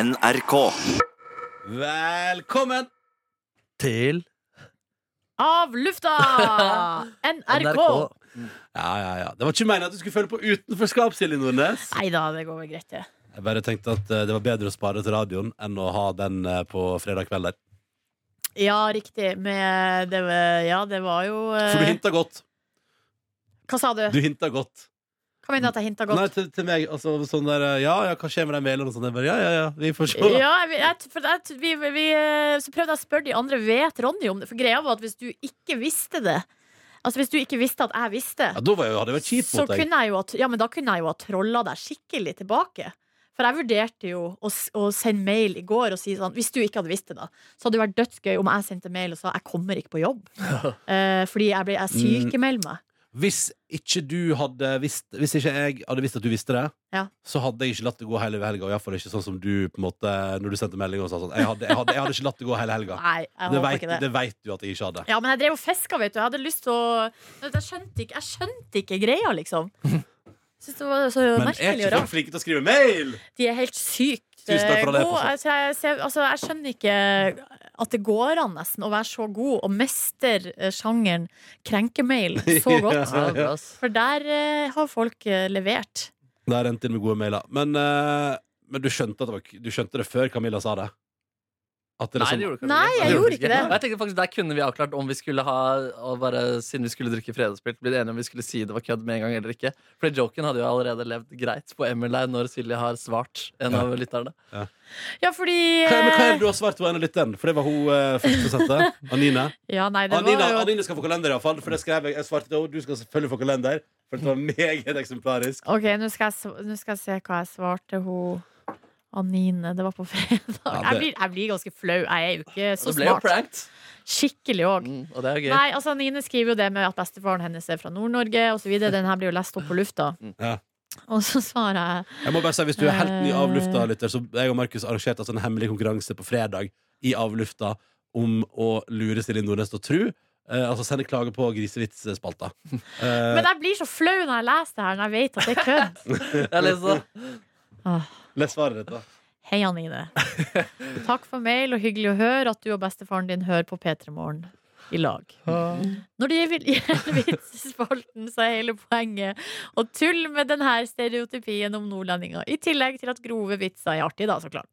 NRK. Velkommen! Til Av lufta! NRK. NRK. Ja, ja, ja. Det var ikke meningen at du skulle føle på utenforskap, Silje Nordnes. Nei da, det går vel greit, det. Jeg bare tenkte at eh, det var bedre å spare til radioen enn å ha den eh, på fredag kveld der. Ja, riktig. Med det, ja, det var jo eh, For du hinta godt. Hva sa du? Du hinta godt. Hva mener du at jeg hinta Nei, godt? til, til meg. Altså, sånn der eh, Ja, ja, hva skjer med de mailene og sånn? Jeg bare, Ja, ja, ja, vi får se. Ja, jeg, jeg, for jeg, vi, vi, eh, så prøvde jeg å spørre de andre Vet Ronny om det. For greia var at hvis du ikke visste det Altså Hvis du ikke visste at jeg visste, Ja, da var jeg, jo- hadde jeg vært kjip så mot deg. kunne jeg jo ha, ja, men da kunne jeg jo ha trolla deg skikkelig tilbake. For jeg vurderte jo å, s- å sende mail i går og si sånn Hvis du ikke hadde visst det, da, så hadde det vært dødsgøy om jeg sendte mail og sa jeg kommer ikke på jobb. Eh, fordi jeg, ble, jeg Mm. sykemelder meg. Hvis ikke du hadde visst Hvis ikke jeg hadde visst at du visste det, Ja. så hadde jeg ikke latt det gå hele helga. Og iallfall ikke sånn som du på en måte når du sendte melding og sa sånn. Jeg hadde, jeg hadde, jeg hadde ikke latt det gå hele helga. Nei, jeg Det håper vet, ikke det. det vet du at jeg ikke hadde. Ja, men jeg drev og fiska, vet du. Jeg hadde lyst til å Jeg skjønte ikke, jeg skjønte ikke greia, liksom. Syns det var så Men er merkelig ikke og folk rart. flinke til å skrive mail? De er helt sykt Tusen takk for alle eh, gode. e-poster. Altså, jeg, ser- altså, jeg skjønner ikke at det går an nesten å være så god og mestre eh, sjangeren krenkemail så godt. Ja, ja. For der eh, har folk eh, levert. Det har rent inn med gode mailer. Men, eh, men du, skjønte at det var, k- du skjønte det før Camilla sa det? At det Nei, liksom- det gjorde du Nei, jeg gjorde ikke det. Og Jeg tenkte faktisk Der kunne vi avklart om vi skulle ha og bare, Siden vi skulle drikke fredagspils, bli enige om vi skulle si det var kødd med en gang eller ikke. For joken hadde jo allerede levd greit på Emily når Silje har svart en Ja. av lytterne. Ja, fordi Hva, men hva er det eh, du har svart på en av lytteren? For det var hun eh, først som sendte. Anine. eh, Ja, nei, det Anine, var jo Anine skal få kalender, iallfall. For det skrev jeg. Jeg svarte til henne. Du skal selvfølgelig få kalender. For det var meget eksemplarisk. Ok, nå skal, jeg, sv- nå skal jeg se hva jeg svarte hun Anine. Det var på fredag. Ja, det- Jeg, blir, jeg blir ganske flau. Jeg er jo ikke Og så det ble jo smart. pranked. Skikkelig òg. Mm, og det er jo gøy. Nei, altså Anine skriver jo det med at bestefaren hennes er fra Nord-Norge osv. Den her blir jo lest opp på lufta. Ja. Og så svarer jeg Jeg må bare si, Hvis du er helt ny i avlufta, lytter, så jeg og Markus arrangerte altså en hemmelig konkurranse på fredag i avlufta om å lure Silje Nordnes til å tro. Eh, altså sende klage på grisevitsspalta. Eh, Men jeg blir så flau når jeg leser det her, når jeg vet at det er kødd. Jeg leste det. Åh, Les svaret ditt, da. Hei, Anine. Takk for mail, og hyggelig å høre at du og bestefaren din hører på P3 Morgen i lag. Når det gjelder vitsespalten, så er hele poenget å tulle med denne stereotypien om nordlendinger. I tillegg til at grove vitser er artig, da, så klart.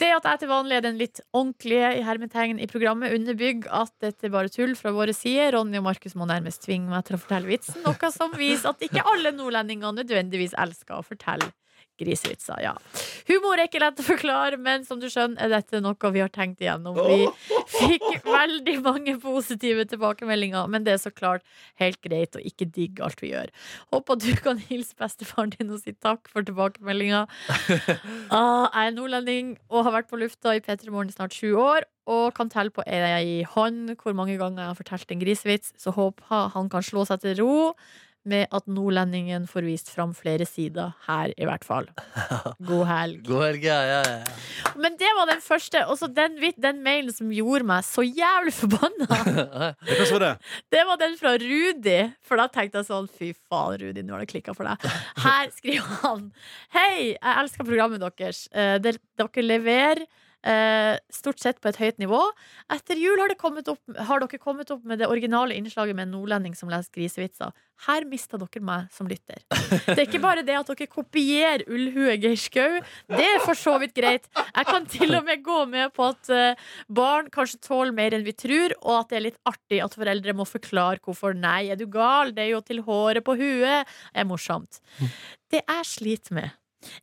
Det at jeg til vanlig er den litt ordentlige i hermetegn i programmet, underbygger at dette er bare tull fra våre sider. Ronny og Markus må nærmest tvinge meg til å fortelle vitsen, noe som viser at ikke alle nordlendinger nødvendigvis elsker å fortelle grisevitser. Ja. Humor er ikke lett å forklare, men som du skjønner, er dette noe vi har tenkt igjennom. Vi fikk veldig mange positive tilbakemeldinger, men det er så klart helt greit å ikke digge alt vi gjør. Håper du kan hilse bestefaren din og si takk for tilbakemeldinga. Ah, jeg er nordlending og har vært på lufta i P3 Morgen i snart sju år. Og kan telle på ei hånd hvor mange ganger jeg har fortalt en grisevits. Så håper han kan slå seg til ro med at nordlendingen får vist fram flere sider her, i hvert fall. God helg. God helg, ja, ja, ja. Men det var den første. Og så den, vit- den mailen som gjorde meg så jævlig forbanna. Det kan svare. Det var den fra Rudi. For da tenkte jeg sånn, fy faen, Rudi, nå har det klikka for deg. Her skriver han. Hei, jeg elsker programmet deres. Eh, der- Dere leverer eh, stort sett på et høyt nivå. Etter jul har, det kommet opp, har dere kommet opp med det originale innslaget med en nordlending som leser grisevitser. Her mista dere meg som lytter. Det er ikke bare det at dere kopierer Ullhue Geir Skau. Det er for så vidt greit. Jeg kan til og med gå med på at eh, barn kanskje tåler mer enn vi tror, og at det er litt artig at foreldre må forklare hvorfor. Nei, er du gal? Det er jo til håret på huet. Det er morsomt. Det jeg sliter med,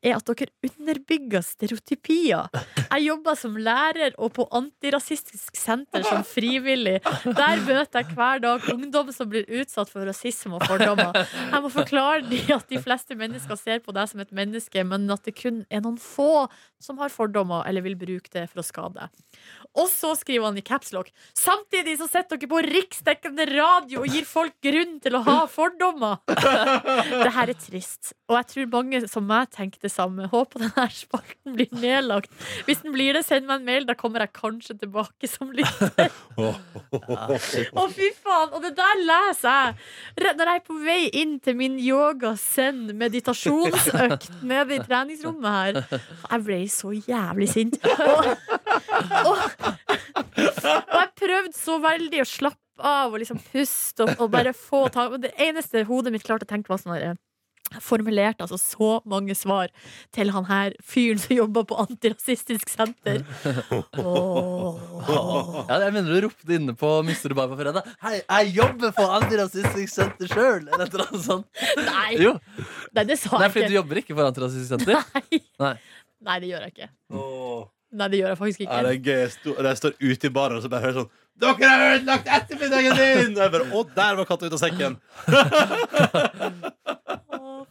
er at dere underbygger stereotypier. Jeg jobber som lærer og på antirasistisk senter som frivillig. Der møter jeg hver dag ungdom som blir utsatt for rasisme og fordommer. Jeg må forklare dem at de fleste mennesker ser på deg som et menneske, men at det kun er noen få som har fordommer eller vil bruke det for å skade deg. Og så skriver han i capslock Samtidig så setter dere på riksdekkende radio og gir folk grunn til å ha fordommer. Det her er trist, og jeg tror mange som meg tenker det samme. Håper denne spalten blir nedlagt. Hvis Hvis den blir det, send meg en mail. Da kommer jeg kanskje tilbake som lytter. Å, fy faen! Og det der leser jeg Re- når jeg er på vei inn til min yoga-send-meditasjonsøkt nede i treningsrommet her. Jeg ble så jævlig sint. Og, og, og jeg prøvde så veldig å slappe av og liksom puste og, og bare få tak og Det eneste hodet mitt klarte å tenke, var sånn her jeg formulerte altså så mange svar til han her fyren som jobba på antirasistisk senter. Åh. Ja, jeg mener du ropte inne på Mister du bar på fredag. Hei, jeg jobber på Antirasistisk Senter sjøl! Eller et eller annet sånt. Nei, Jo. nei, det sa Nei, jeg fordi du ikke. jobber ikke for Antirasistisk Senter? Nei. Nei. nei, det gjør jeg ikke. Åh. Nei, det gjør jeg faktisk ikke. Er det gøy? Jeg sto- når jeg står ute i baren og så bare hører jeg sånn Dere har ødelagt ettermiddagen din! Og jeg bare, Å, der var katta ut av sekken! Åh.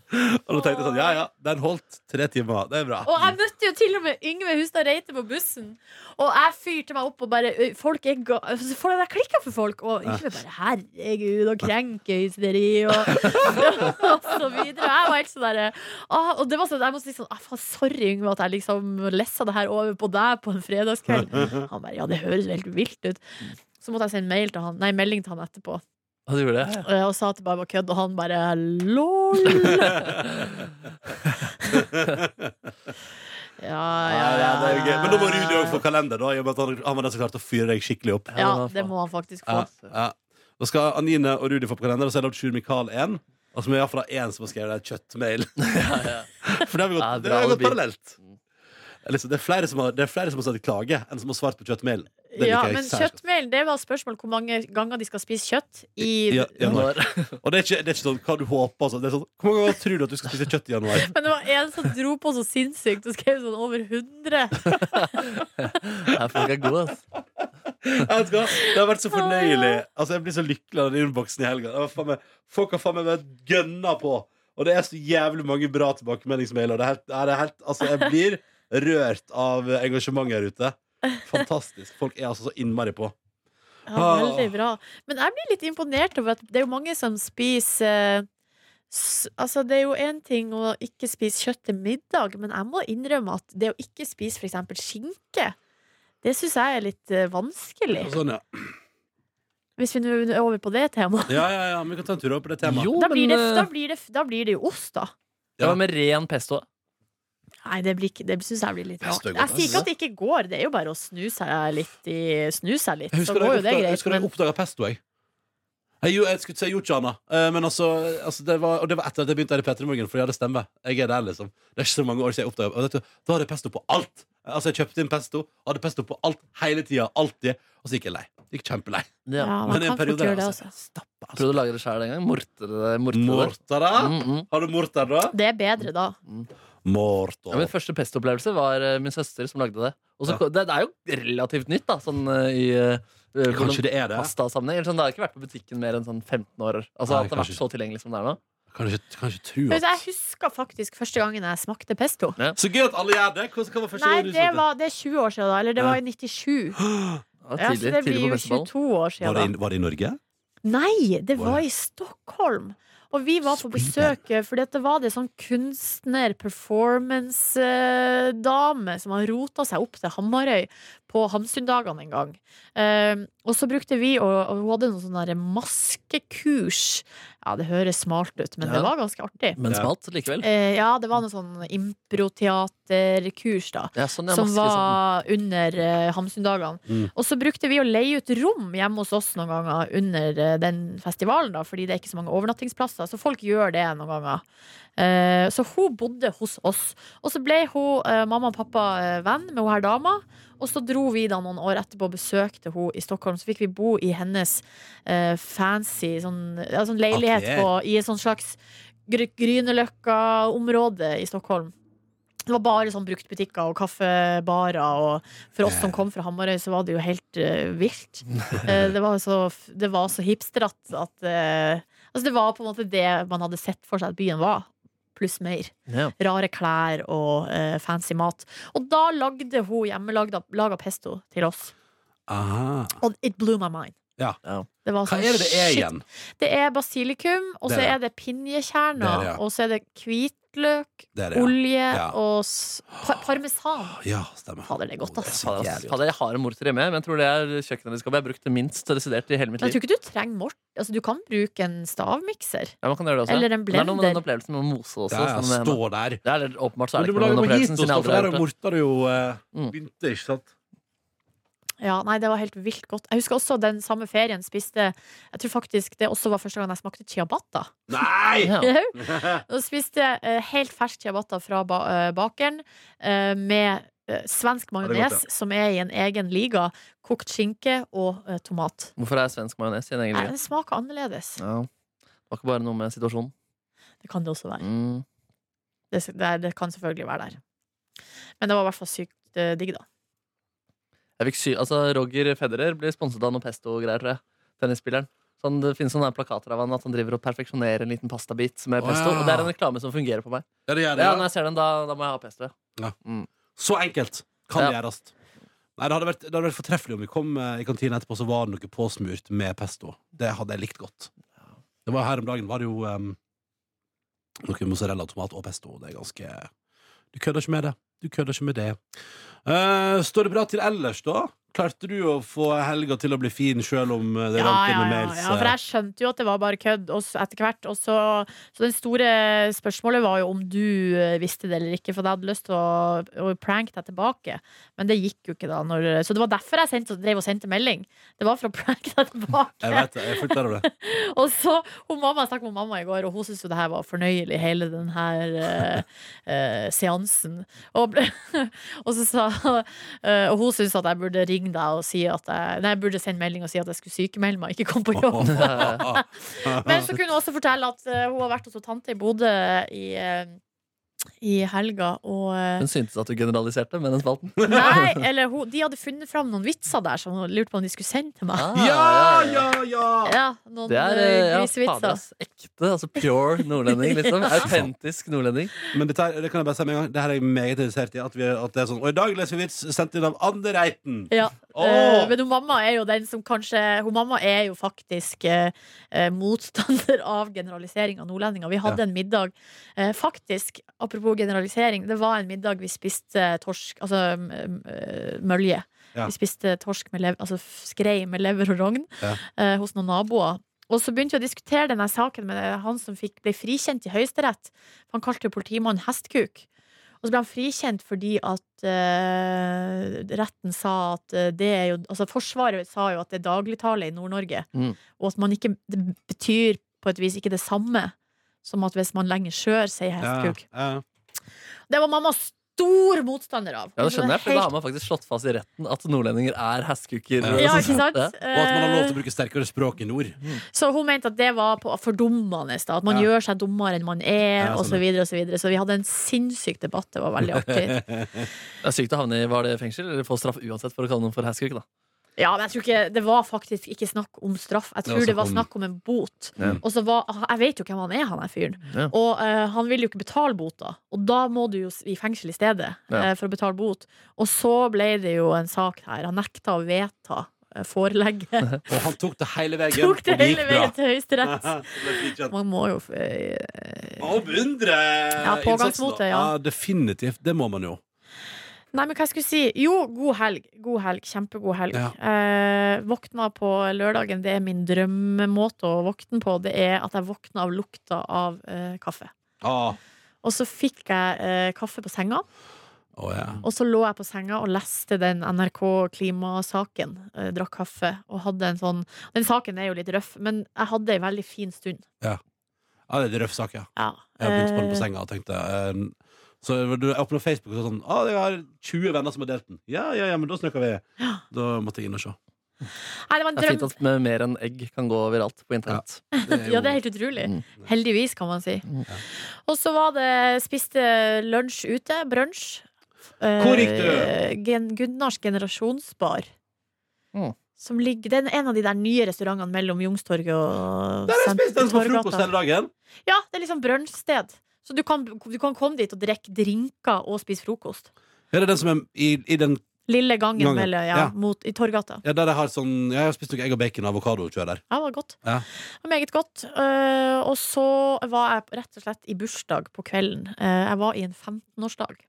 Og da tenkte jeg sånn, ja ja, den holdt tre timer. Det er bra. Og jeg møtte jo til og med Yngve Hustad Reite på bussen. Og jeg fyrte meg opp og bare ø, Folk er ga... altså, folk- Jeg klikka for folk. Og Yngve bare 'herregud' og krenkehysteri og, og så videre. Og jeg var helt sånn derre ah, Og det var sånn, jeg måtte si sånn ah, faen, 'Sorry, Yngve, at jeg liksom lessa det her over på deg på en fredagskveld'. Han bare 'ja, det høres jo helt vilt ut'. Så måtte jeg sende mail til han, nei, melding til han etterpå Og du gjorde det? og jeg sa at det bare var kødd, og han bare lol. ja, Ja, ja, ja, det er jo gøy. Men da må Rudi òg få kalender, da. i og med at Han han var den som klarte å fyre deg skikkelig opp. Ja, det må han faktisk få. Ja, ja. Da skal Anine og Rudi få på kalender, og så er det Sjur Mikael én. Og så må vi iallfall ha én som har skrevet deg kjøttmail. For det har vi Ja, gått, det bra har gått alibi. parallelt. Eller, så det, er flere som har, det er flere som har sagt klage, enn som har svart på kjøttmail. Det liker Ja, jeg men særskilt. kjøttmailen, det var spørsmål hvor mange ganger de skal spise kjøtt i Ja, ja. Når- Og det er, ikke, det er ikke sånn hva du håper. Altså. Det er sånn, Hvor mange ganger tror du at du skal spise kjøtt i januar? Men det var en som dro på så sinnssykt og skrev sånn over 100. Ja, folk er gode, ass. Jeg vet ikke hva, Det har vært så fornøyelig. Altså, jeg blir så lykkelig av den innboksen i helga. Det var faen meg- Folk har faen meg vært gønna på. Og det er så jævlig mange bra tilbakemeldingsmailer. Det er helt, ja, det er helt, altså, jeg blir rørt av engasjementet her ute. Fantastisk. Folk er altså så innmari på. Ja, veldig bra. Men jeg blir litt imponert over at det er jo mange som spiser eh, s- Altså, det er jo én ting å ikke spise kjøtt til middag, men jeg må innrømme at det å ikke spise for eksempel skinke, det syns jeg er litt eh, vanskelig. Sånn, ja. Hvis vi nå er over på det temaet. Ja, ja, ja, men Vi kan ta en tur over på det temaet. Jo, Da blir, men det, da, eh, blir det, da blir det jo ost, da. det var med ren pesto. Nei, det, blir ikke- det syns jeg blir litt rart. Pesto er godt, Jeg sier altså. ikke at det ikke går, det er jo bare å snu seg litt i Snu seg litt, Jeg så husker da går jeg oppdaga- jo det jeg greit. husker da jeg Men oppdaga pesto, jeg. Jeg, gjorde- jeg skulle ikke si jeg gjorde ikke annet. Eh, Men altså, altså det var, og det var etter at jeg begynte her i P3 Morgen, for ja, det stemmer. Jeg er der, liksom. Det er ikke så mange år siden jeg oppdaga og vet du, Da hadde jeg pesto på alt. Altså, jeg kjøpte inn pesto, hadde pesto på alt hele tida, alltid. Og så gikk jeg lei. Gikk kjempelei. ja, Ja. man Men i en kan fort periode gjøre det, altså, altså. stappa, altså. Prøvde å lage det sjøl en gang. Morte det. Morte det. Morta, da? Mm, mm. Har du morta, da? Det er bedre da. Morta. Ja, min første pestoopplevelse var eh, min søster som lagde det. Og så Ah! Ja. ko- det, det er jo relativt nytt, da, sånn eh, i eh, Kanskje det er det? pastasammenheng. Eller Sånn, det har ikke vært på butikken mer enn sånn 15 år. Altså Nei, at det har vært kanskje så tilgjengelig som det er nå. Kan du ikke, kan du ikke tro Men jeg at husker faktisk første gangen jeg smakte pesto. Så gøy at alle gjør det! Hva hva var første Nei, gang du det, smakte? var, det er 20 år siden, da. Eller det var i 97. Ja, Ja, så tidlig, det tidlig blir på jo festival. 22 Var år det, siden. i, var det i Norge? Da. Nei, det Var var i Stockholm. Og vi var på besøk, for det var det sånn kunstner-performance-dame som har rota seg opp til Hamarøy på Hamsundagene en gang. Eh, og så brukte vi, og, og hun hadde noen sånne der maskekurs. Ja, det høres smalt ut, men det Ja. var ganske artig. Men Ja. smalt likevel. Eh, ja, det var noe sånn improteaterkurs, da. Ja, sånn, ja, som maske, var under uh, Hamsundagene. Mm. Og så brukte vi å leie ut rom hjemme hos oss noen ganger under eh, den festivalen, da, fordi det er ikke så mange overnattingsplasser. Så folk gjør det noen ganger. Eh, så hun bodde hos oss. Og så ble hun, eh, mamma og pappa eh, venn med hun her dama. Og så dro vi da noen år etterpå og besøkte hun i Stockholm. Så fikk vi bo i hennes eh, fancy sånn, ja, sånn leilighet Atelier. på, i et sånn slags Gry- Grünerløkka-området i Stockholm. Det var bare sånn bruktbutikker og kaffebarer, og for oss som kom fra Hamarøy, så var det jo helt eh, vilt. Eh, det, var så, det var så hipsterat at eh, Altså, det var på en måte det man hadde sett for seg at byen var. Pluss mer. sånn. Ja. Rare klær og eh, fancy mat. Og da lagde hun hjemmelaga laga pesto til oss. Aha. Og it blew my mind. Ja. Ja. Det var Hva sånn, er det det er shit, igjen? det er basilikum, og Det så er er det pinjekjerner, Det er det, ja. og så er det hvitløk, hvitløk, Det er det, ja. olje Ja. og s par parmesan. Ja, stemmer. Fader, det er godt, ass. Å, det er så Fader, ass. jævlig godt. Fader, jeg har en morter hjemme, men jeg tror det er kjøkkenredskapet jeg har brukt det minst desidert i hele mitt Men jeg liv. tror ikke du trenger mort. Altså, du kan bruke en stavmikser. Ja, man kan gjøre det også. Eller en Men Det er noe med den blender. opplevelsen med å mose også. Ja, ja, som det hender. stå der. det er det, åpenbart så Men er du det må ikke noe med lage den mojito, opplevelsen så siden jeg aldri har der gjort det. morter du jo eh, Mm. begynte, ikke sant? Ja, nei, det var helt vilt godt. Jeg husker også den samme ferien spiste Jeg tror faktisk det også var første gang jeg smakte ciabatta. Nei! Ja. Jau. Nå spiste jeg eh, helt fersk ciabatta fra ba eh, bakeren eh, med eh, svensk det er majones, godt, som er i en egen liga. Kokt skinke og eh, tomat. Hvorfor er svensk majones i en egen Nei, liga? den smaker annerledes. Ja. Det var ikke bare noe med situasjonen. Det kan det også være. Mm. Det, det, det kan selvfølgelig være der. Men det var i hvert fall sykt eh, digg, da. Jeg fikk sy altså, Roger Federer blir sponset av noe pesto-greier, tror jeg. Tennisspilleren. Så han, det finnes sånne plakater av han at han driver og perfeksjonerer en liten pastabit med Å, pesto. ja. Og det er en reklame som fungerer på meg. Ja, det gjør det, Ja, ja. når jeg ser den, da, da må jeg ha pesto. ja. Så enkelt kan Ja. det gjøres. Nei, det hadde, vært, det hadde vært fortreffelig om vi kom eh, i kantina etterpå så var det noe påsmurt med pesto. Det hadde jeg likt godt. Det var Her om dagen var det jo em, noe mozzarella, tomat og pesto. Det er ganske Du kødder ikke med det. Du kødder ikke med det. Eh, står det bra til ellers, da? Klarte du å få helga til å bli fin sjøl om eh, det Ja, rant inn ja, med ja, mails? eh. ja, for jeg skjønte jo at det var bare kødd og så etter hvert. Og så, så det store spørsmålet var jo om du eh, visste det eller ikke, for jeg hadde lyst til å, å pranke deg tilbake. Men det gikk jo ikke, da. Når, så det var derfor jeg sendte, drev og sendte melding. Det var for å pranke deg Jeg tilbake. vet det. Jeg er fullt klar over det. Og så, hun mamma, Jeg snakket med mamma i går, og hun syntes jo det her var fornøyelig, hele den her eh, eh, seansen. Og, ble, og så sa eh, Og hun syntes at jeg burde ringe deg og si at jeg, Nei, jeg burde sende melding og si at jeg skulle sykemelde meg, ikke komme på jobb. ah. Men så kunne hun også fortelle at eh, hun har vært hos hun tante i Bodø i, eh, i helga, og eh, Hun syntes at du generaliserte med den spalten. Nei, eller hun, de hadde funnet fram noen vitser der som hun lurte på om de skulle sende til meg. Ah, Ja, ja, ja! Ja, noen Det er eh, eh, ja, fader, grisevitser. ass, ekte, altså pure nordlending. liksom Autentisk nordlending. Men dette her, det kan jeg bare si med en gang Det her er jeg meget interessert i. At, vi, at det er sånn Og i dag leser vi vits sendt inn av Anne Reiten. Ja. Hm. Åh! Eh, men hun mamma er jo den som kanskje Hun mamma er jo faktisk eh, eh, motstander av generalisering av nordlendinger. Vi hadde en middag eh, Faktisk, apropos generalisering, det var en middag vi spiste torsk Altså m- m- eh, mølje. Ja. Vi spiste torsk med lever, altså f- skrei med lever og rogn Ja. eh, hos noen naboer. Og så begynte vi å diskutere denne saken med han som fikk, ble frikjent i Høyesterett. Han kalte jo politimannen hestkuk. Og så ble han frikjent fordi at eh, retten sa at eh, det er jo Altså Forsvaret sa jo at det er dagligtale i Nord-Norge, Mm. og at man ikke Det betyr på et vis ikke det samme som at hvis man lenger sør sier hestkuk. Ja, ja. Det var mamma stor motstander av. Ja, det skjønner jeg, for Da har Helt- man faktisk slått fast i retten at nordlendinger er heskuker. Ja, ja, ikke sant? Ja. Og at man har lov til å bruke sterkere språk i nord. Så hun mente at det var på fordummende, da. At man Ja. gjør seg dummere enn man er, Ja, og så sånn. videre og så videre. Så vi hadde en sinnssyk debatt. Det var veldig artig. Det er sykt å havne i var det fengsel eller få straff uansett for å kalle noen for heskuk. da Ja, men jeg tror ikke Det var faktisk ikke snakk om straff. Jeg Det tror var det var snakk om- snakk om en bot. Ja. Og så var Jeg vet jo hvem han er, han er fyren. Ja. Og eh, han vil jo ikke betale bota. Og da må du jo s- i fengsel i stedet Ja. eh, for å betale bot. Og så ble det jo en sak her. Han nekta å vedta eh, forelegget. Og han tok det hele veien, Tok det og det hele gikk bra. veien til Høyesterett. Man Man må jo eh, må beundre Ja, pågangsmotet, innsatsen, da. ja. Definitivt. Det må man jo. Nei, men hva jeg skulle si Jo, god helg. God helg. Kjempegod helg. Ja. Eh, våkna på lørdagen. Det er min drømmemåte å våkne på. Det er at jeg våkna av lukta av eh, kaffe. Ah. Og så fikk jeg eh, kaffe på senga, Å, ja. og så lå jeg på senga og leste den NRK Klimasaken. Eh, drakk kaffe og hadde en sånn Den saken er jo litt røff, men jeg hadde ei veldig fin stund. ja, det er en røff sak, ja. Ja. Jeg har begynt på den på Eh, senga og tenkte eh, Så du åpner Facebook og så sånn Å, jeg har 20 venner som har delt den. Ja, ja, ja, men da snakker vi. Da måtte jeg inn og se. Eh, Nei, det var en Det er fint drøm. at med mer enn egg kan gå viralt på internett. Det er Ja, det er jo- helt utrolig. Mm. Heldigvis, kan man si. Mm. Og så var det spiste lunsj ute. Brunsj. Eh, Hvor gikk du? Gen Gunnars generasjonsbar. Mm. Som ligger, det er en av de der nye restaurantene mellom Youngstorget og Der har jeg Sent- spist den som frokost hele dagen. Ja, det er liksom brunsjsted. Så du kan, du kan komme dit og drikke drinker og spise frokost. Er det den som er i, i den Lille gangen, Gangen, mellom- ja, ja. Mot, i Torgata. Ja, der jeg har sånn Jeg har spist noe egg og bacon og avokadokjør der. Ja, det var godt. Ja. Det var meget godt. Eh, og så var jeg rett og slett i bursdag på kvelden. Eh, jeg var i en 15-årsdag.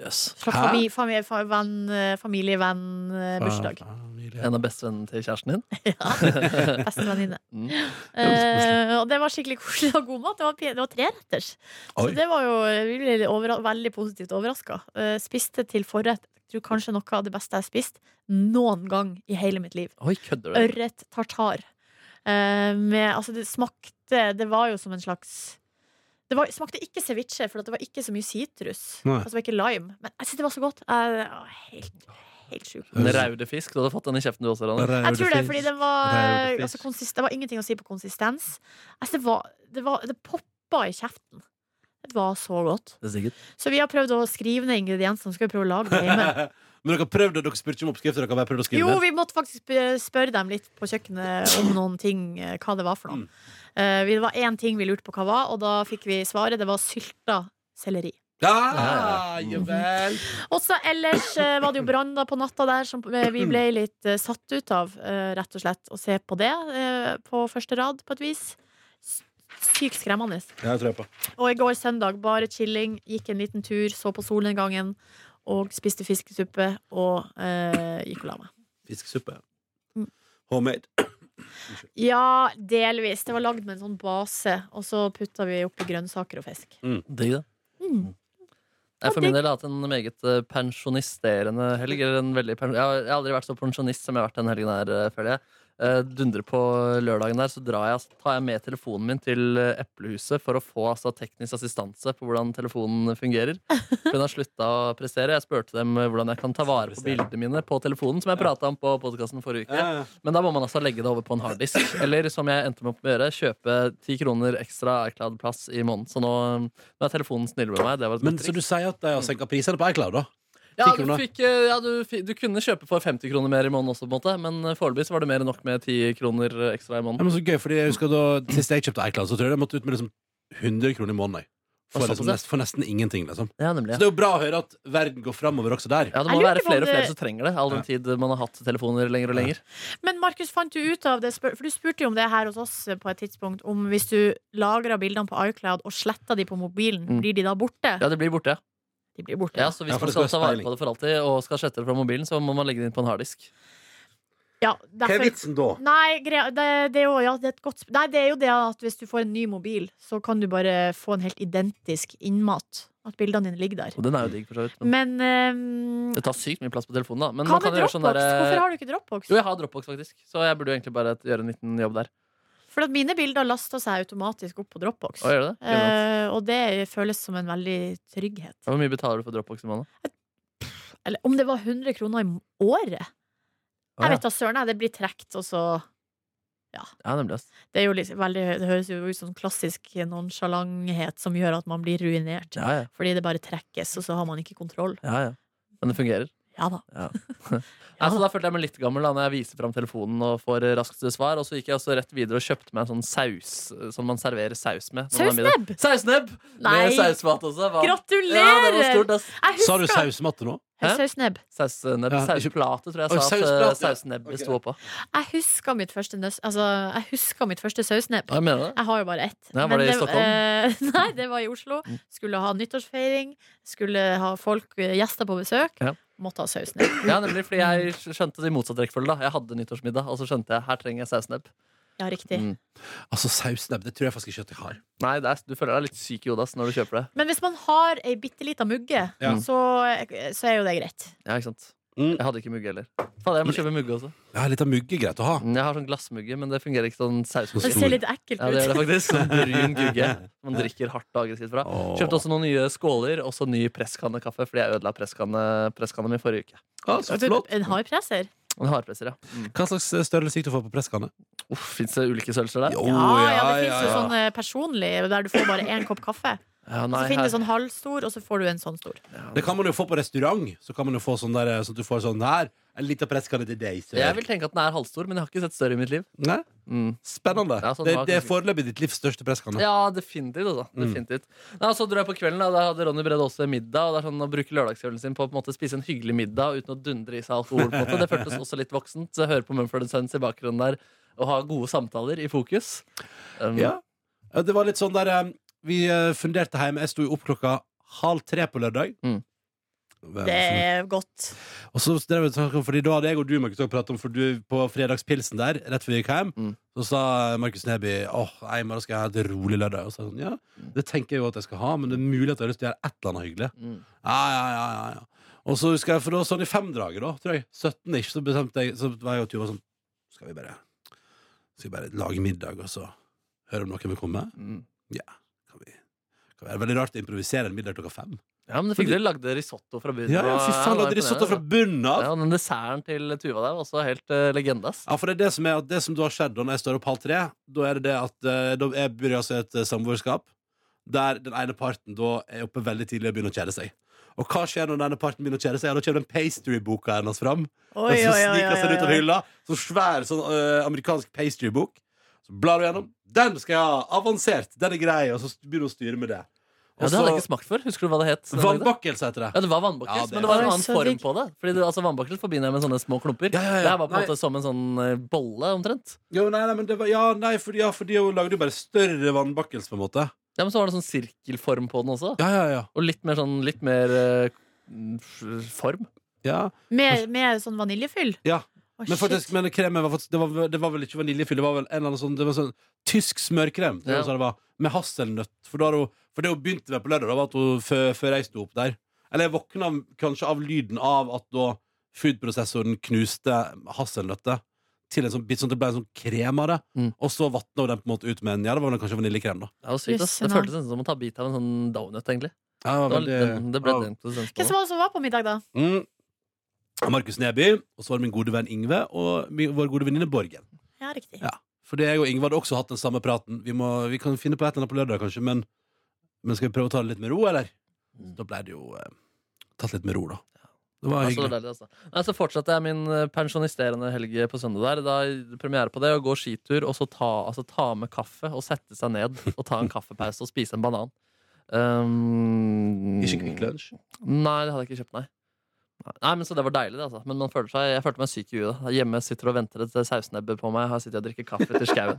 Jøss. Fra Hæ? Ah. fami, fami, fa- venn, eh, familievenn-bursdag. Familie. En av bestevennen til kjæresten din. Ja. Bestevenninne. Mm. Eh, og det var skikkelig koselig og god mat. Det var, pi- det var treretters. Så Oi. det var jo eh, vi ble litt overra veldig positivt overraska. spiste til forrett jeg tror kanskje noe av det beste jeg har spist noen gang i hele mitt liv. Oi, kødder du? Ørret tartar. Eh, med, altså det smakte Det var jo som en slags Det var, smakte ikke ceviche, for at det var ikke så mye sitrus. Nei. Altså det var ikke lime. Men jeg synes det var så godt. Jeg- jeg var helt, helt sjuk. En raudefisk. Du hadde fått den i kjeften, du også, Ronny. Jeg tror det, er fordi det var, Raude fisk. altså, konsist, det var ingenting å si på konsistens. Altså, det, var, det, var, det poppa i kjeften. Det var så godt. Det er sikkert. Så vi har prøvd å skrive ned ingrediensene. Skal vi prøve å lage det hjemme? Men dere har prøvd det, dere spurte ikke om oppskrifter? Dere har bare prøvd å skrive Jo, det? vi måtte faktisk sp- spørre dem litt på kjøkkenet om noen ting. eh, Hva det var for noe. Eh, vi- det var én ting vi lurte på hva var, og da fikk vi svaret. Det var sylta selleri. Ja, ja vel. Og så ellers eh, var det jo branner på natta der som eh, vi ble litt eh, satt ut av, eh, rett og slett, å se på det eh, på første rad, på et vis. S- Sykt skremmende. Ja, det tror jeg på. Og i går søndag, bare chilling, gikk en liten tur, så på solnedgangen og spiste fiskesuppe og eh, gikk og la meg. Fiskesuppe. Mm. Homemade. Ja, delvis. Det var lagd med en sånn base, og så putta vi oppi grønnsaker og fisk. Digg, det. Mm. Jeg for min del har hatt en meget eh, pensjonisterende helg. Eller en veldig pensjon... jeg, har, jeg har aldri vært så pensjonist som jeg har vært den helgen her, eh, føler jeg. Eh, Dundrer på lørdagen der, så drar jeg, tar jeg med telefonen min til eh, Eplehuset for å få altså, teknisk assistanse på hvordan telefonen fungerer. For den har slutta å prestere. Jeg spurte dem eh, hvordan jeg kan ta vare på bildene mine på telefonen, som jeg prata om på podkasten forrige uke. Ja. Men da må man altså legge det over på en harddisk. Eller som jeg endte med å gjøre, kjøpe ti kroner ekstra iCloud-plass i måneden. Så nå, um, nå er telefonen snill med meg. Det var et Men godt så du triks. sier at de har senka prisene på iCloud, da? Ja, Ti du, kroner. fikk, eh, ja du, fi- du kunne kjøpe for 50 kroner mer i måneden også, på en måte. Men eh, foreløpig så var det mer enn nok med 10 kroner eh, ekstra i Ja, måneden. men så gøy, fordi jeg husker da Sist jeg kjøpte iCloud, så tror jeg jeg måtte ut med liksom 100 kroner i måneden. jeg. For, Og såpass, liksom, ja. nest, for nesten ingenting, liksom. Ja, Så nemlig. Ja. det er jo bra å høre at verden går framover også der. Ja, Det Jeg må lurer være på om flere og flere det- som trenger det, all den tid man har hatt telefoner lenger og Ja. lenger. Men Markus, fant du ut av det? spør- For du spurte jo om det her hos oss eh, på et tidspunkt. Om hvis du lagra bildene på iCloud og sletta de på mobilen, Mm. blir de da borte? Ja, det blir borte. ja. De blir borte. Ja, så hvis Ja, for man det skal skal ta være vare speiling. på det for alltid, og skal slette det fra mobilen, så må man legge det inn på en harddisk. Ja, derfor, vitsen da? Nei, greia, det, det, er jo, ja, det er et godt sp- Nei, det er jo det at hvis du får en ny mobil, så kan du bare få en helt identisk innmat. At bildene dine ligger der. Og den er jo digg, for så vidt. Men Men ehm, det tar sykt mye plass på telefonen, da. Men hva med man kan jo gjøre Dropbox? sånn derre Hvorfor har du ikke Dropbox? Jo, jeg har Dropbox, faktisk. Så jeg burde jo egentlig bare gjøre en liten jobb der. For at mine bilder lasta seg automatisk opp på Dropbox. Å, gjør du det? Genialt. Eh, og det føles som en veldig trygghet. Hvor mye betaler du for Dropbox i måneden? Eller om det var 100 kroner i m- året? Å, Jeg vet da søren, jeg, det blir trukket, og så ja. ja, nemlig. ass. det, er jo liksom veldig, det høres jo ut som klassisk nonsjalanthet som gjør at man blir ruinert. Ja, ja. Fordi det bare trekkes, og så har man ikke kontroll. ja, ja. Men det fungerer. Ja da. Nei, så da følte jeg meg litt gammel da når jeg viser fram telefonen og får raskt svar. Og så gikk jeg også rett videre og kjøpte meg en sånn saus eh, som man serverer saus med. når man har middag. Sausnebb! Sausnebb! Nei. Med sausmat også. hva? Ja, det var Gratulerer! stort, ass. Jeg Sa du husker sausmatte nå? Hæ? Sausnebb. Sausnebb. Ja, ikke- Sausplate, tror jeg Oi, sa at eh, sausplate, ja. sausnebb Ok. sto oppå. Jeg husker mitt første nøs... Altså, jeg husker mitt første sausnebb. Ja, jeg mener det. Jeg har jo bare ett. Ja, var Men det i Stockholm? Mm. eh, nei, det var i Oslo. Skulle ha nyttårsfeiring. Skulle ha folk, eh, gjester på besøk. Ja. Måtte ha sausnebb. Ja, nemlig fordi jeg skjønte det i motsatt rekkefølge. da Jeg hadde nyttårsmiddag, og så skjønte jeg her trenger jeg sausnebb. Ja, riktig. Mm. Altså, sausnebb, det tror jeg faktisk ikke at jeg har. Nei, det er, du føler deg litt syk i hodet ass, når du kjøper det. Men hvis man har ei bitte lita mugge, Ja. så, så er jo det greit. Ja, ikke sant? Mm. Jeg hadde ikke mugge heller. Faen, jeg må kjøpe mugge også. Ja, Litt av mugge er greit å ha. Mm, Jeg har sånn glassmugge, men det fungerer ikke sånn Og Det sausmugge. stor. ser litt ekkelt Ja, det gjør ut. det faktisk. Sånn brun gugge man drikker hardt og aggressivt fra. Åh. Kjøpte også noen nye skåler, også ny presskannekaffe, fordi jeg ødela presskanne, presskanne min forrige uke. Ja, så flott. En hardpresser? En hardpresser, ja. Mm. Hva slags eh, størrelse gikk du for på presskanne? Uff, Fins det ulike størrelser der? Jo, Ja, ja, det Oh, ja, fins jo ja. sånn eh, personlig der du får bare én kopp kaffe. Ja, Så nei, finner her- du sånn halvstor, og så får du en sånn stor. Det kan man jo få på restaurant. Så kan man jo få sånn der, eh, så at du får sånn her. En liten presskanne til deg. sør. Jeg vil tenke at den er halvstor, men jeg har ikke sett større i mitt liv. Nei? Mm. Spennende. Ja, sånn det, var det er kanskje- foreløpig ditt livs største presskanne. Ja, definitivt. Altså. Mm. definitivt. Nei, og så dro jeg på kvelden, da, da hadde Ronny Brede også middag. Og det er sånn Å bruke lørdagskvelden sin på å på en måte spise en hyggelig middag uten å dundre i seg alkohol, på en måte. det føltes også litt voksent. Så jeg hører på Mumford Sons i bakgrunnen der og ha gode samtaler i fokus. Um, Ja. Ja, Det var litt sånn der eh, Vi eh, funderte hjemme. Jeg sto jo opp klokka halv tre på lørdag. Mm. Det er godt. Og så drev vi og snakket om, fordi Da hadde jeg og du Markus, også pratet om For du på fredagspilsen der, rett før vi gikk hjem, Mm. så sa Markus Neby Åh, nei, i morgen skal jeg ha et rolig lørdag. Og så sa jeg sånn, ja, Det tenker jeg jo at jeg skal ha, men det er mulig at jeg har lyst til å gjøre et eller annet hyggelig. Mm. Ja, ja, ja, ja, ja. Og så husker jeg, for det var sånn i femdraget, da, tror jeg. 17 ish, så bestemte jeg Så var jeg og Tuva sånn Skal vi bare Skal vi bare lage middag, og så høre om noen vil komme? Mm. Kan vi, kan vi. Det er veldig rart å improvisere en middag klokka fem. Ja, men det fikk dere lagde risotto fra bunnen. Ja, ja, og- fy faen, det var lagde risotto fra imponerende. altså. bunnen av! ja, og Den desserten til Tuva der var også helt uh, legende, ass. Ja, for det er det som er at det som da har skjedd da når jeg står opp halv tre, da er det det at eh, da jeg begynner altså et eh, samboerskap der den ene parten da er oppe veldig tidlig og begynner å kjede seg. Og hva skjer når den ene parten begynner å kjede seg? Ja, da kommer den pastryboka hennes fram. Oi, Og oi, så oi, oi, sniker seg ut av oi. hylla. Så svær sånn eh, amerikansk pastrybok. Så blar hun gjennom. Den skal jeg ha! Avansert! Den er grei! Og så begynner hun å styre med det. Ja, det hadde jeg ikke smakt før. Husker du hva det het? den dagen? Vannbakkelse heter det. Ja, det var vannbakkels, Ja, det- men det var en Oi, annen så form digg. på det. Fordi det, altså Vannbakkels forbinder jeg med sånne små klumper. Ja, ja, ja. Det her var på en Nei. måte som en sånn eh, bolle, omtrent. Jo, nei, nei, men det var, ja, nei, for, ja, for de lagde jo bare større vannbakkelse, på en måte. Ja, Men så var det sånn sirkelform på den også. Ja, ja, ja. Og litt mer sånn litt mer eh, form. ja. Med, med sånn vaniljefyll? Ja, Å, Men, shit. faktisk, men kremen var faktisk det var, det var vel ikke vaniljefyll, det var vel en eller annen sånn, det var sånn tysk smørkrem. Det var Ja. sånn det var, med hasselnøtt. For, da hadde hun, for det hun begynte med på lørdag, da, var at hun, før, før jeg sto opp der Eller jeg våkna kanskje av lyden av at da foodprosessoren knuste hasselnøttet til en sånn bit, sånn at det ble en sånn krem av det. Mm. Og så vatna hun den på en måte ut med en Ja, det var vel kanskje vaniljekrem, da. Det var sykt, ass. Det Jøsse navn. føltes nesten som å ta bit av en sånn donut, egentlig. Ja, Det, var, veldig- den, det ble ja. den Hvem konsistensen på det. var det som var på middag, da? Mm. Markus Neby, og så var det min gode venn Ingve, og min, vår gode venninne Borgen. Ja, riktig. Ja. Fordi jeg og Ingve hadde også hatt den samme praten. Vi, må, vi kan finne på et eller annet på lørdag, kanskje, men, men skal vi prøve å ta det litt med ro, eller? Mm. Da ble det jo eh, tatt litt med ro, da. Det var Ja, så hyggelig. deilig, altså. Nei, så fortsatte jeg min eh, pensjonisterende helg på søndag der. Da er premiere på det, og gå skitur, og så ta, altså, ta med kaffe, og sette seg ned, og ta en kaffepause, og spise en banan. Um, Ikke Kvikk Lunsj. Nei, det hadde jeg ikke kjøpt, nei. Nei, men Så det var deilig, det. altså Men man føler seg, jeg følte meg syk i huet. da. Hjemme sitter og venter et sausnebbe på meg. Her sitter jeg og drikker kaffe til skauen.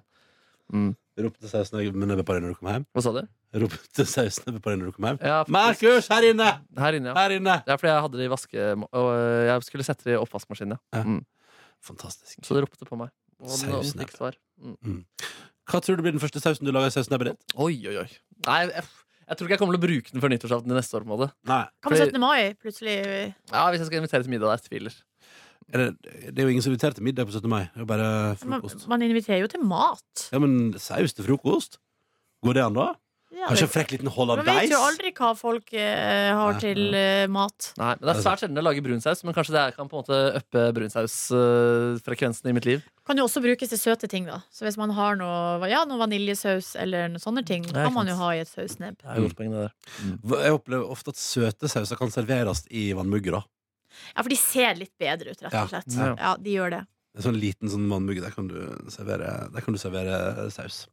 Mm. Ropte sausnebbe på deg når du kom hjem. Hva sa du? Ropte sausnebbe på deg når du kom hjem. Ja, faktisk- Markus, her inne! Her inne, ja. Her inne! Det er fordi jeg hadde det i vaske... Og øh, jeg skulle sette det i oppvaskmaskinen, ja. Ja. Mm. Fantastisk. Så det ropte på meg. Og den, og den Sausnebbe. fikk svar. Mm. Hva tror du blir den første sausen du lager i sausnebbet ditt? Oi, oi, oi. Nei, jeg, jeg tror ikke jeg kommer til å bruke den før nyttårsaften neste år. på en måte. Nei. Kan man Fordi- 17. mai plutselig Ja, Hvis jeg skal invitere til middag der, tviler. Er det, det er jo ingen som inviterer til middag på 17. mai. Det er jo bare man, frokost. man inviterer jo til mat. Ja, men saus til frokost? Går det an, da? Ja, Kanskje en det- frekk liten man vet jo hollandeis? aldri hva folk eh, har Nei. til eh, mat. Nei, men Det er svært sjelden jeg lager brunsaus, men kanskje det her kan på en måte øppe brunsausfrekvensen i mitt liv. Kan jo også brukes til søte ting, da. Så hvis man har noe, ja, noe vaniljesaus eller noe sånne ting, Ja, kan man sant. jo ha i et sausnebb. Det er jo et poeng, det der. Jeg opplever ofte at søte sauser kan serveres i vannmugger. da Ja, for de ser litt bedre ut, rett Ja. og slett. Ja. Ja, de gjør det. En sånn liten sånn vannmugge. Der kan du servere, der kan du servere saus.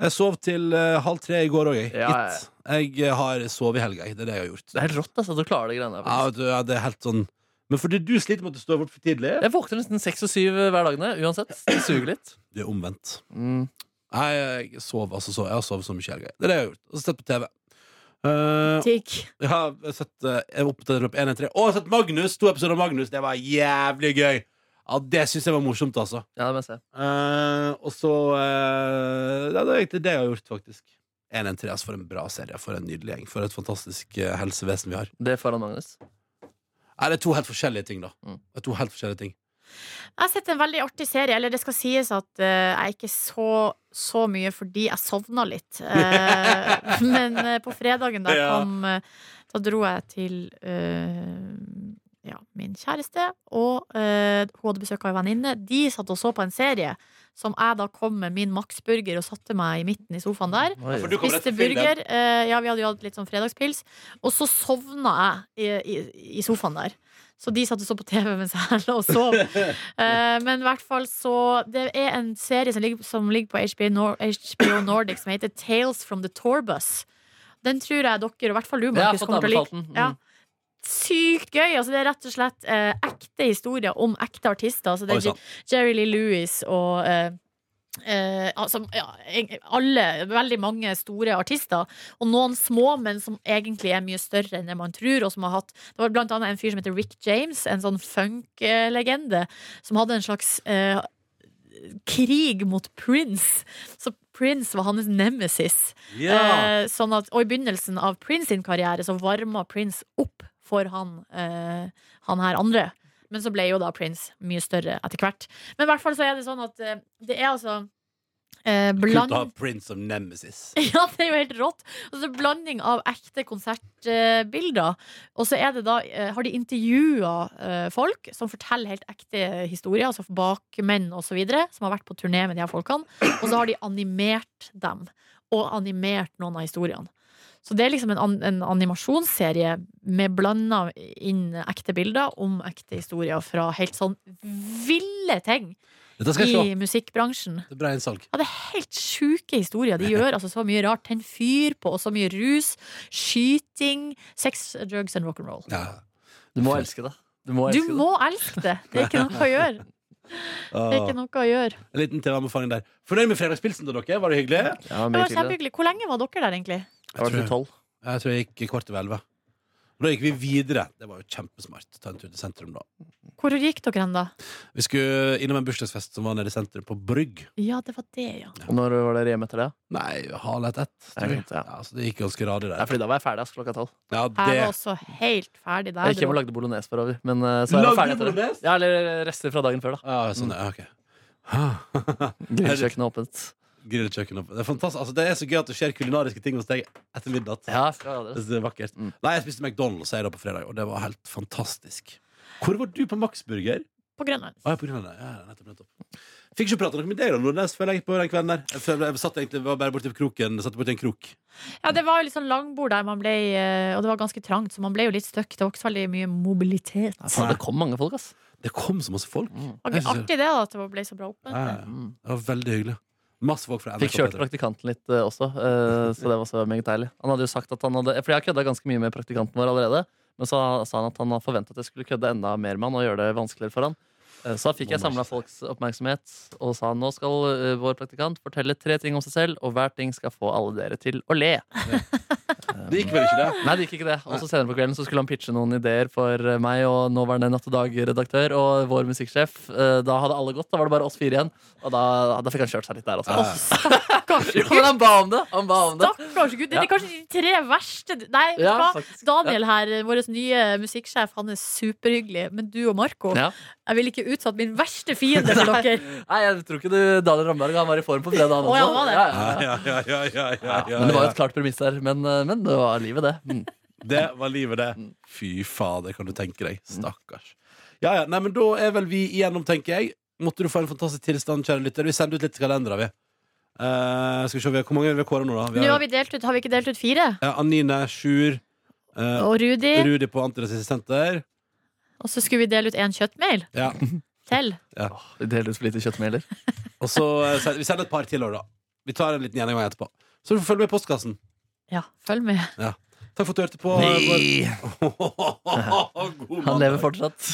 Jeg sov til eh, halv tre i går òg, jeg. Ja, ja. Gitt. Jeg eh, har sovet i helga, jeg. Det er det jeg har gjort. Det er helt rått altså, at du klarer de greiene der. Ja, faktisk. vet du, ja, det er helt sånn Men fordi du sliter med at du står opp for tidlig, Jeg våkner nesten seks og syv hver dag nå, uansett. Det suger litt. det er omvendt. Mm. Nei, jeg sov altså så Jeg har sovet så mye i helga. Det er det jeg har gjort. Og så sett på TV. Eh, Digg. jeg har sett eh, Jeg er oppdatert opp 1 1 3. Og jeg har sett Magnus! To episoder av Magnus. Det var jævlig gøy! Ja, Det syns jeg var morsomt, altså. Ja, det må jeg se. Eh, og så eh, ja, Det er egentlig det jeg har gjort, faktisk. 113, altså for en bra serie. For en nydelig gjeng. For et fantastisk eh, helsevesen vi har. Det foran Magnus. Nei, det er to helt forskjellige ting, da. Mm. Det er to helt forskjellige ting Jeg har sett en veldig artig serie, eller det skal sies at eh, jeg ikke så så mye fordi jeg sovna litt. Eh, men eh, på fredagen da jeg Ja. kom eh, Da dro jeg til eh, ja, min kjæreste og eh, hun hadde besøk av en venninne. De satt og så på en serie som jeg da kom med min Max-burger og satte meg i midten i sofaen der. for du kom rett Spiste til filmen. burger. eh, ja, vi hadde jo hatt litt sånn fredagspils. Og så sovna jeg i, i, i sofaen der. Så de satt og så på TV mens jeg lå og sov. Eh, men i hvert fall så Det er en serie som ligger, som ligger på HBO, Nor HBO Nordic som heter Tales from the Tourbus. Den tror jeg dere, og i hvert fall du, Jeg har Markus, fått kommer til å anbefalt like. den. Mm. Ja. Sykt gøy! Altså, det er rett og slett eh, ekte historier om ekte artister. Altså, det Oi, er sant. Jerry Lee Lewis og eh, eh, altså, ja, eng- alle, veldig mange store artister, og noen små, men som egentlig er mye større enn det man tror. Og som har hatt, det var blant annet en fyr som heter Rick James, en sånn funk-legende, som hadde en slags eh, krig mot Prince. Så Prince var hans nemesis. Ja. Eh, sånn at, og i begynnelsen av Prince sin karriere så varma Prince opp for han, eh, han her andre. Men så ble jo da Prince mye større etter hvert. Men i hvert fall så er det sånn at eh, det er altså eh, Kult å ha bland... Prince of Nemesis. Ja, det er jo helt rått! Altså, det er blanding av ekte konsertbilder. Og så er det da, eh, har de intervjua eh, folk som forteller helt ekte historier, altså bakmenn osv., som har vært på turné med de her folkene. Og så har de animert dem, og animert noen av historiene. Så det er liksom en, an- en animasjonsserie med blanda inn ekte bilder om ekte historier fra helt sånn ville ting Dette skal jeg se. i musikkbransjen. Det er bra innsalg. Ja, det er helt sjuke historier. De gjør altså så mye rart. Tenn fyr på, og så mye rus, skyting, sex, drugs and rock'n'roll. Ja. Du må elske det. Du må Du elske det. må elske det! Det er ikke noe å gjøre. Det Åh, er ikke noe å gjøre. En liten TV-anbefaling der. Fornøyd med fredagspilsen da, dere? Var det hyggelig? Ja, Det mye var til det. kjempehyggelig. Hvor lenge var dere der, egentlig? Jeg var tror- 12. Jeg tror jeg gikk kvart over elleve. Og da gikk vi videre. Det var jo kjempesmart. Ta en tur til sentrum, da. Hvor gikk dere hen, da? Vi skulle innom en bursdagsfest som var nede i sentrum, på Brygg. Ja, det var det, ja. Og når var dere hjemme etter det? Nei, halv ett ett. tror jeg. Ja. Ja, så det gikk ganske radig Nei, der. fordi da var jeg ferdig ass, klokka tolv. Ja, Jeg var det også helt ferdig der. Jeg gikk hjem og bro. lagde bolognese for over. Men eh, så er jeg Lagde ferdig etter det. bolognese? Ja, eller rester fra dagen før, da. ja, sånn, ja, ok. Grillkjøkkenet åpent. Grillkjøkken opp. Det er fantastisk. Altså, det er så gøy at det skjer kulinariske ting hos deg etter midnatt. Ja, skal jeg ha Det det. er vakkert. Mm. Nei, jeg spiste McDonald's jeg, da på fredag, og det var helt fantastisk. Hvor var du på Max Burger? På Grønland. Å, jeg er på Grønland, ja, ja, nettopp, nettopp. Fikk ikke prate noe med deg da, Nordnes, før jeg gikk på den kvelden der. Jeg, følte- jeg satt egentlig var bare borti kroken, satt borti en krok. Ja, det var jo litt sånn langbord der man ble eh, Og det var ganske trangt, så man ble jo litt stuck. Det var ikke så veldig mye mobilitet. Ja, faen, det kom mange folk, ass. Det kom så masse folk. Det var Jeg synes artig det, da, at det ble så bra åpent. Ja, ja, ja. Mm. Det var veldig hyggelig. Masse folk fra NRK. Fikk kjørt Peter. praktikanten litt eh, også, eh, så det var også meget deilig. Han hadde jo sagt at han hadde For jeg har kødda ganske mye med praktikanten vår allerede. Men så sa han at han har forventa at jeg skulle kødde enda mer med han og gjøre det vanskeligere for han. Eh, Så da fikk jeg samla folks oppmerksomhet og sa nå skal eh, vår praktikant fortelle tre ting om seg selv, og hver ting skal få alle dere til å le. Det gikk vel ikke, det? Nei, det gikk ikke det. Og så senere på kvelden så skulle han pitche noen ideer for eh, meg og nåværende Natt og Dag-redaktør og vår musikksjef. Eh, Da hadde alle gått, da var det bare oss fire igjen. Og da, da fikk han kjørt seg litt der også. Ja. Åh, stakkars Jo, men han ba om det! Han ba om det. Stakkars gutt. Det er Ja. kanskje de tre verste Nei, vet du Ja, hva? faktisk. Daniel her, vår nye musikksjef, han er superhyggelig. Men du og Marco, Ja. jeg ville ikke utsatt min verste fiende for dere. Nei, jeg tror ikke du Daniel Ramberg han var i form på fredag. han Å, ja, han også. var det. Ja, ja, ja. Ja, ja, ja, ja, ja, ja, Men det var jo ja. et klart premiss der. Men, eh, men det var livet, det. Mm. Det var livet, det. Fy fader, kan du tenke deg. Mm. Stakkars. Ja, ja, nei, men Da er vel vi igjennom, tenker jeg. Måtte du få en fantastisk tilstand, kjære lytter. Vi sender ut litt kalendere, vi. Eh, skal vi se, vi har, Hvor mange har vi kåra nå, da? Nå har vi delt ut, har vi ikke delt ut fire? ja, Anine, Sjur, eh, Og Rudi. Rudi på Antiresistenter. Og så skulle vi dele ut en kjøttmail Ja. til. Åh, Det deles for lite kjøttmeler. Og så eh, send- Vi sender et par til, da. Vi tar en liten gjennomgang etterpå. Så du får følge med i postkassen. Ja, følg med. Takk for at du hørte på. eh, God Han lever fortsatt.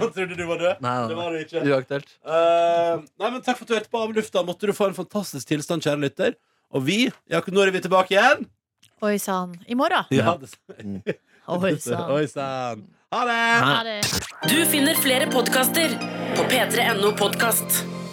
Han trodde du var død. Nei, nei, Det var du ikke. Uaktuelt. Eh, nei, men Takk for at du hørte på Avlufta. Måtte du få en fantastisk tilstand, kjære lytter. Og vi, ja, når er vi tilbake igjen? Oi sann. I morgen. Ja, det- Oi sann. Oi sann. Ha det! Ha det. Du finner flere podkaster på p3.no podkast.